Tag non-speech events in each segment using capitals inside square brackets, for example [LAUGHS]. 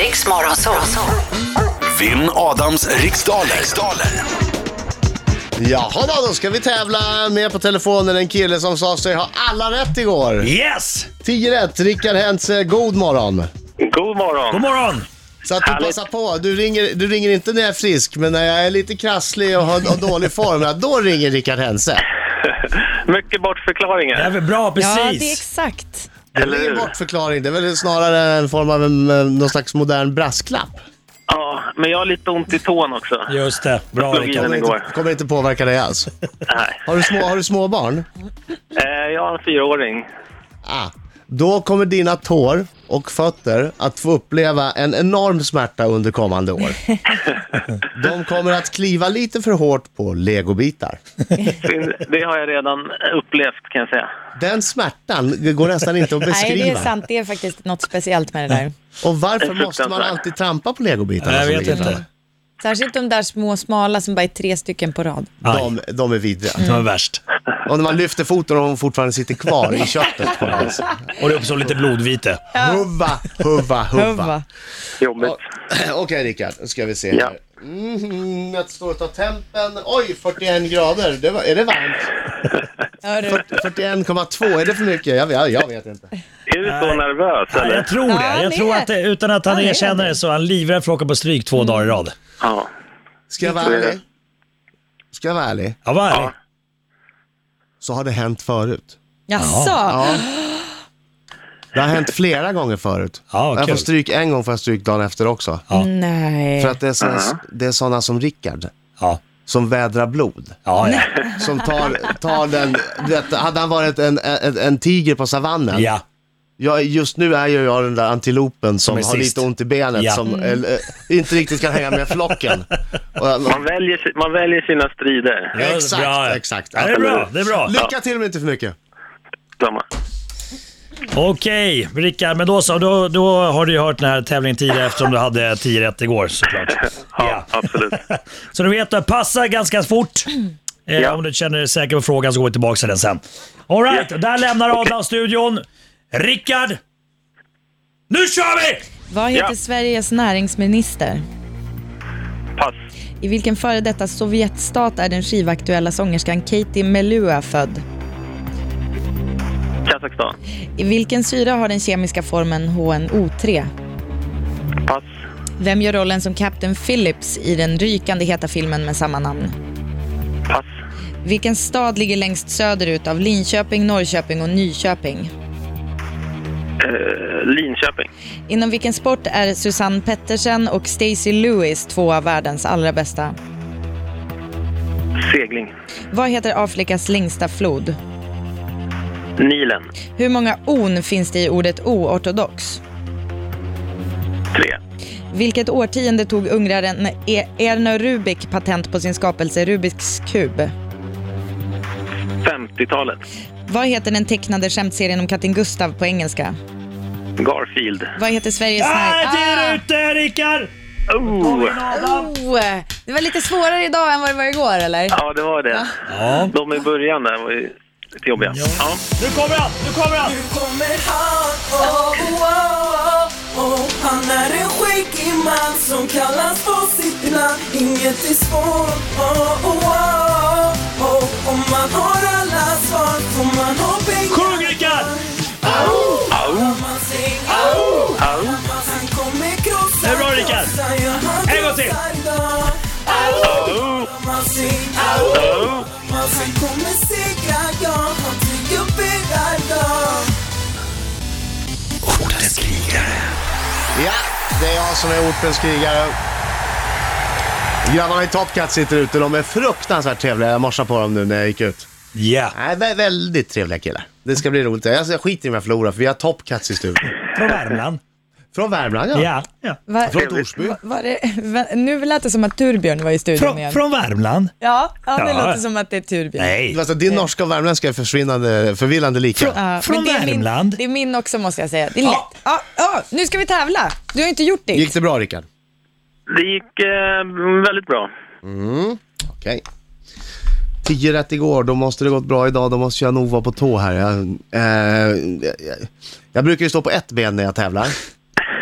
Riks Morgonzoo. Vinn Adams riksdaler. riksdaler. Jaha då, då ska vi tävla med på telefonen en kille som sa sig ha alla rätt igår. Yes! 10 rätt, Rickard Hentze, god morgon. God morgon. God morgon! Så att du Härligt. passar på. Du ringer, du ringer inte när jag är frisk, men när jag är lite krasslig och har, har dålig form, ja, då ringer Rickard Hentze. [LAUGHS] Mycket Det är bortförklaringar. väl bra, Ja, det är precis. exakt. Det är ingen bortförklaring, det är väl snarare en form av en, eh, någon slags modern brasklapp. Ja, men jag har lite ont i tån också. Just det, bra Slog i Rickard. den igår. Det kommer inte påverka dig alls. Nej. Har du, små, har du småbarn? Eh, Jag har en fyraåring. Ah. Då kommer dina tår och fötter att få uppleva en enorm smärta under kommande [LAUGHS] år. De kommer att kliva lite för hårt på legobitar. Det- Det har jag redan upplevt kan jag säga. Den smärtan går nästan inte att Nej, det är beskriva. sant. Det är faktiskt något speciellt med det där. Och varför Det är måste man fruktansvärt. alltid trampa på legobitarna? Jag som vet ligger inte. framme? Särskilt de där små smala som bara är tre stycken på rad. Aj, De, de är vidriga. det var värst. Och när man lyfter foten och de fortfarande sitter kvar i köttet på den. så- Och det uppstår lite blodvite. Huvva, huvva, huvva. Huvva. Jobbigt. [CLEARS THROAT] Okej Rickard, nu ska vi se Ja. här. Mm, jag står och tar tempen. Oj, 41 grader. Det var, är det varmt? Hörru. 41,2, är det för mycket? Jag, jag, jag vet inte. Är du så nervös Ja, eller? jag tror Ja, det. Jag det tror är- att det, utan att han Ja, det är erkänner det så är han livrädd för att åka på stryk två dagar i rad. Ja. Ska jag vara Så är det. ärlig? Ska jag vara ärlig? Ja, vad ärlig. Så har det hänt förut. Jaså? Det har hänt flera gånger förut. Ja, jag får kul. stryk en gång får jag stryk dagen efter också. Nej. För att det är, såna, det är såna som Rickard, Ja, som vädrar blod. ja, ja. Som tar, tar den, vet, hade han varit en, en, en tiger på savannen, ja. jag, just nu är ju jag den där antilopen som, Som är har sist. lite ont i benet, Ja. Mm. som eller, eh, inte riktigt kan hänga med [LAUGHS] flocken. Och, eh, Man väljer, si- man väljer sina strider. Ja, Exakt, bra. exakt. Ja, det är bra, det är bra. lycka till men inte för mycket. Samma. Okej, Rickard, men då så. Då, då har du ju hört den här tävlingen tidigare eftersom du hade 10 rätt igår såklart. Ja, Ja. absolut. Så du vet, du, passa ganska fort. Eh, Ja. Om du känner dig säker på frågan så går vi tillbaka till den sen. Alright, Ja. där lämnar Adam studion. Rickard! Nu kör vi! Vad heter Ja. Sveriges näringsminister? Pass. I vilken före detta Sovjetstat är den skivaktuella sångerskan Katie Melua född? Kazakstan. I vilken syra har den kemiska formen HNO3? Pass. Vem gör rollen som Captain Phillips i den rykande heta filmen med samma namn? Pass. Vilken stad ligger längst söderut av Linköping, Norrköping och Nyköping? Eh, Linköping. Inom vilken sport är Susanne Pettersen och Stacy Lewis två av världens allra bästa? Segling. Vad heter Afrikas längsta flod? Nilen. Hur många on finns det i ordet oortodox? Tre. Vilket årtionde tog ungraren E- Erno Rubik patent på sin skapelse Rubiks kub? 50-talet. Vad heter den tecknade skämtserien om katten Gustav på engelska? Garfield. Vad heter Sveriges... Ah, det är Ah! ute Rickard! Oh. Oh, det var lite svårare idag än vad det var igår, eller? Ja, det var det. Ja. De i början där var ju lite jobbiga. Ja. Nu kommer han! Nu kommer han! Nu kommer han, oh, oh, oh, oh. Han är en skäggig man som kallas på sitt namn Inget är svårt, oh, oh, oh, oh. Om man har alla svar får man ha pengar Sjung Rickard! Man säger, oh, oh. Han kommer krossa, Det är bra, Rickard. krossa, ja, han En gång till. krossar idag. Oh. Man säger, oh, Oh. oh. Han kommer segra, ja, han tycker upp hela dagen Ordens krigare. Ja, det är jag som är ortens krigare. Grabbarna i Top Cat sitter ute, de är fruktansvärt trevliga. Jag morsade på dem nu när jag gick ut. Ja. Nej, vä- väldigt trevliga killar. Det ska bli roligt. Jag jag skiter i om jag förlorar, för vi har Top Cats i studion. Från Värmland. Från Värmland ja. Ja. ja. Va, Från Torsby. va- var det, va, nu lät det som att Turbjörn var i studion Från, igen. från Värmland? Ja, ja, det Ja. låter som att det är Turbjörn. Nej. Alltså, din norska och värmländska är försvinnande, förvillande lika. Ja, men Från det är Värmland. Min, det är min också måste jag säga. Det är lätt. Ja. Ja, nu ska vi tävla. Du har inte gjort det. Gick det bra Rickard? Det gick eh, väldigt bra. Okej. Tio rätt igår, då måste det gått bra idag. Då måste jag nog vara på tå här. Jag, eh, jag, jag brukar ju stå på ett ben när jag tävlar.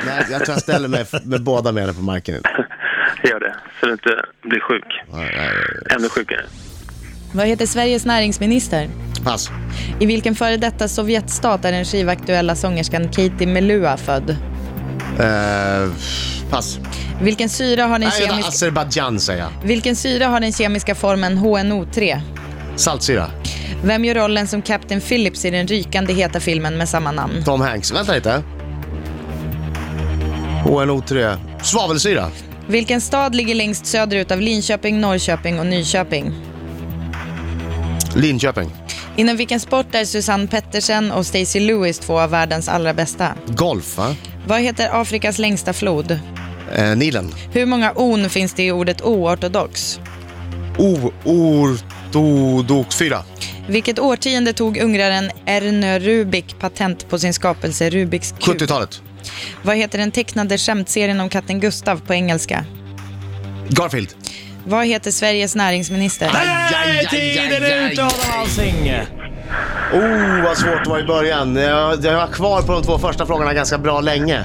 Nej, jag tror jag ställer mig f- med båda benen på marken. idag. Gör det, så du inte blir sjuk. Nej, nej, nej. Ännu sjukare. Vad heter Sveriges näringsminister? Pass. I vilken före detta Sovjetstat är den skivaktuella sångerskan Katie Melua född? Eh, pass. Vilken syra har den Nej, vänta, kemiska, Azerbajdzjan säger jag. vilken syra har den kemiska formen HNO3? Saltsyra. Vem gör rollen som Captain Phillips i den rykande heta filmen med samma namn? Tom Hanks. Vänta lite. HNO3. Svavelsyra. Vilken stad ligger längst söderut av Linköping, Norrköping och Nyköping? Linköping. Inom vilken sport är Susanne Pettersen och Stacy Lewis två av världens allra bästa? Golf, va? Vad heter Afrikas längsta flod? Eh, Nilen. Hur många on finns det i ordet oortodox? Oortodox 4. Vilket årtionde tog ungraren Ernö Rubik patent på sin skapelse Rubiks kub? 70-talet. Vad heter den tecknade skämtserien om katten Gustav på engelska? Garfield. Vad heter Sveriges näringsminister? Nej, tiden är ute Adam Alsing! Oh, vad svårt det var i början. Jag, jag var kvar på de två första frågorna ganska bra länge.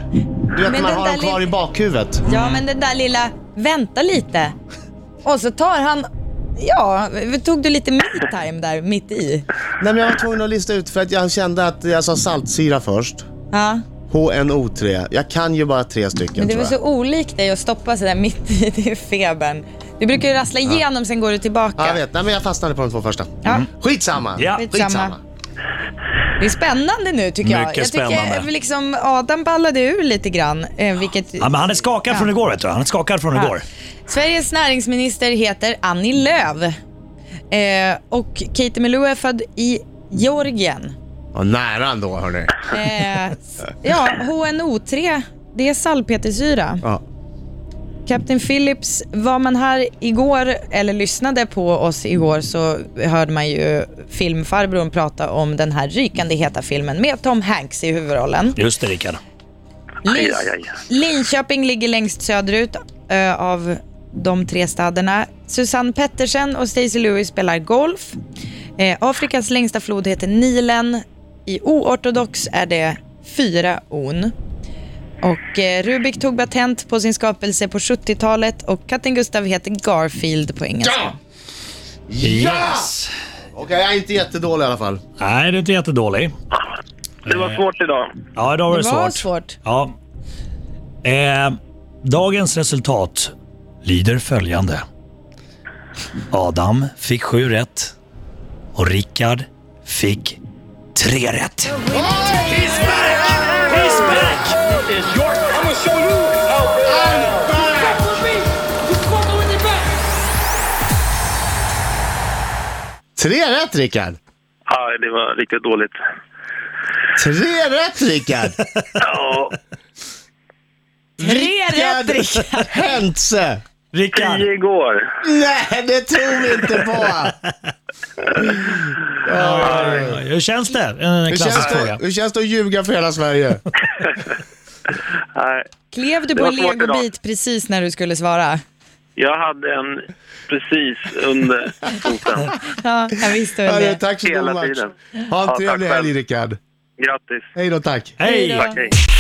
Du vet, Men man den har där dem kvar li- i bakhuvudet. Ja, men den där lilla “vänta lite” och så tar han... Ja, tog du lite me-time där mitt i? Nej, men jag var tvungen att lista ut för att jag kände att jag sa saltsyra först. Ja, HNO3. Jag kan ju bara tre stycken men det var tror så jag. olikt dig att stoppa sig där mitt i. [LAUGHS] Det är febern. Du brukar ju rassla igenom, sen går du Ja, jag tillbaka. vet. Nej, men jag fastnade på de två första. Ja. Skitsamma. Ja. Skitsamma. Det är spännande nu tycker jag. Mycket jag tycker spännande. liksom Adam ballade ur lite grann. eh, Vilket... Ja, men han är skakad från igår vet du. Han är skakad från Ja. igår. Sveriges näringsminister heter Annie Lööf. Eh, och Katie Melua är född i Georgien. Ja, nära ändå, hörni. Eh, s- ja, HNO3, det är salpetersyra. Ja. Captain Phillips, var man här igår eller lyssnade på oss igår så hörde man ju filmfarbrorn prata om den här rykande heta filmen med Tom Hanks i huvudrollen. Just det Rickard. Lin- aj, aj. Linköping ligger längst söderut eh, av de tre städerna. Susanne Pettersen och Stacy Lewis spelar golf. Eh, Afrikas längsta flod heter Nilen. I oortodox är det fyra on. Och eh, Rubik tog patent på sin skapelse på 70-talet och katten Gustav heter Garfield på engelska. Yes! Okej, jag är inte jättedålig i alla fall. Nej, du är inte jättedålig. Det var svårt idag. Ja, idag var det, Det var svårt. svårt. Ja. Eh, dagens resultat lyder följande. Adam fick sju rätt och Rickard fick tre rätt. Tre rätt, Rickard! Ja, det var riktigt dåligt. Tre rätt, Rickard! Ja, Tre rätt Rickard! Hentze! Rickard! tio igår. Nej, det tror vi inte [LAUGHS] på! Hur känns det? En Hur känns, klassisk det, fråga. hur känns det att ljuga för hela Sverige? Nej, Klev du på var en svårt idag. legobit precis när du skulle svara? jag hade en precis under foten. Ja, jag visste väl Hörru, det. tack så god Hela match. tiden. Ha Ja, en trevlig tack själv. helg, Rickard. Grattis. Hej då, tack. Hej! Tack, hej.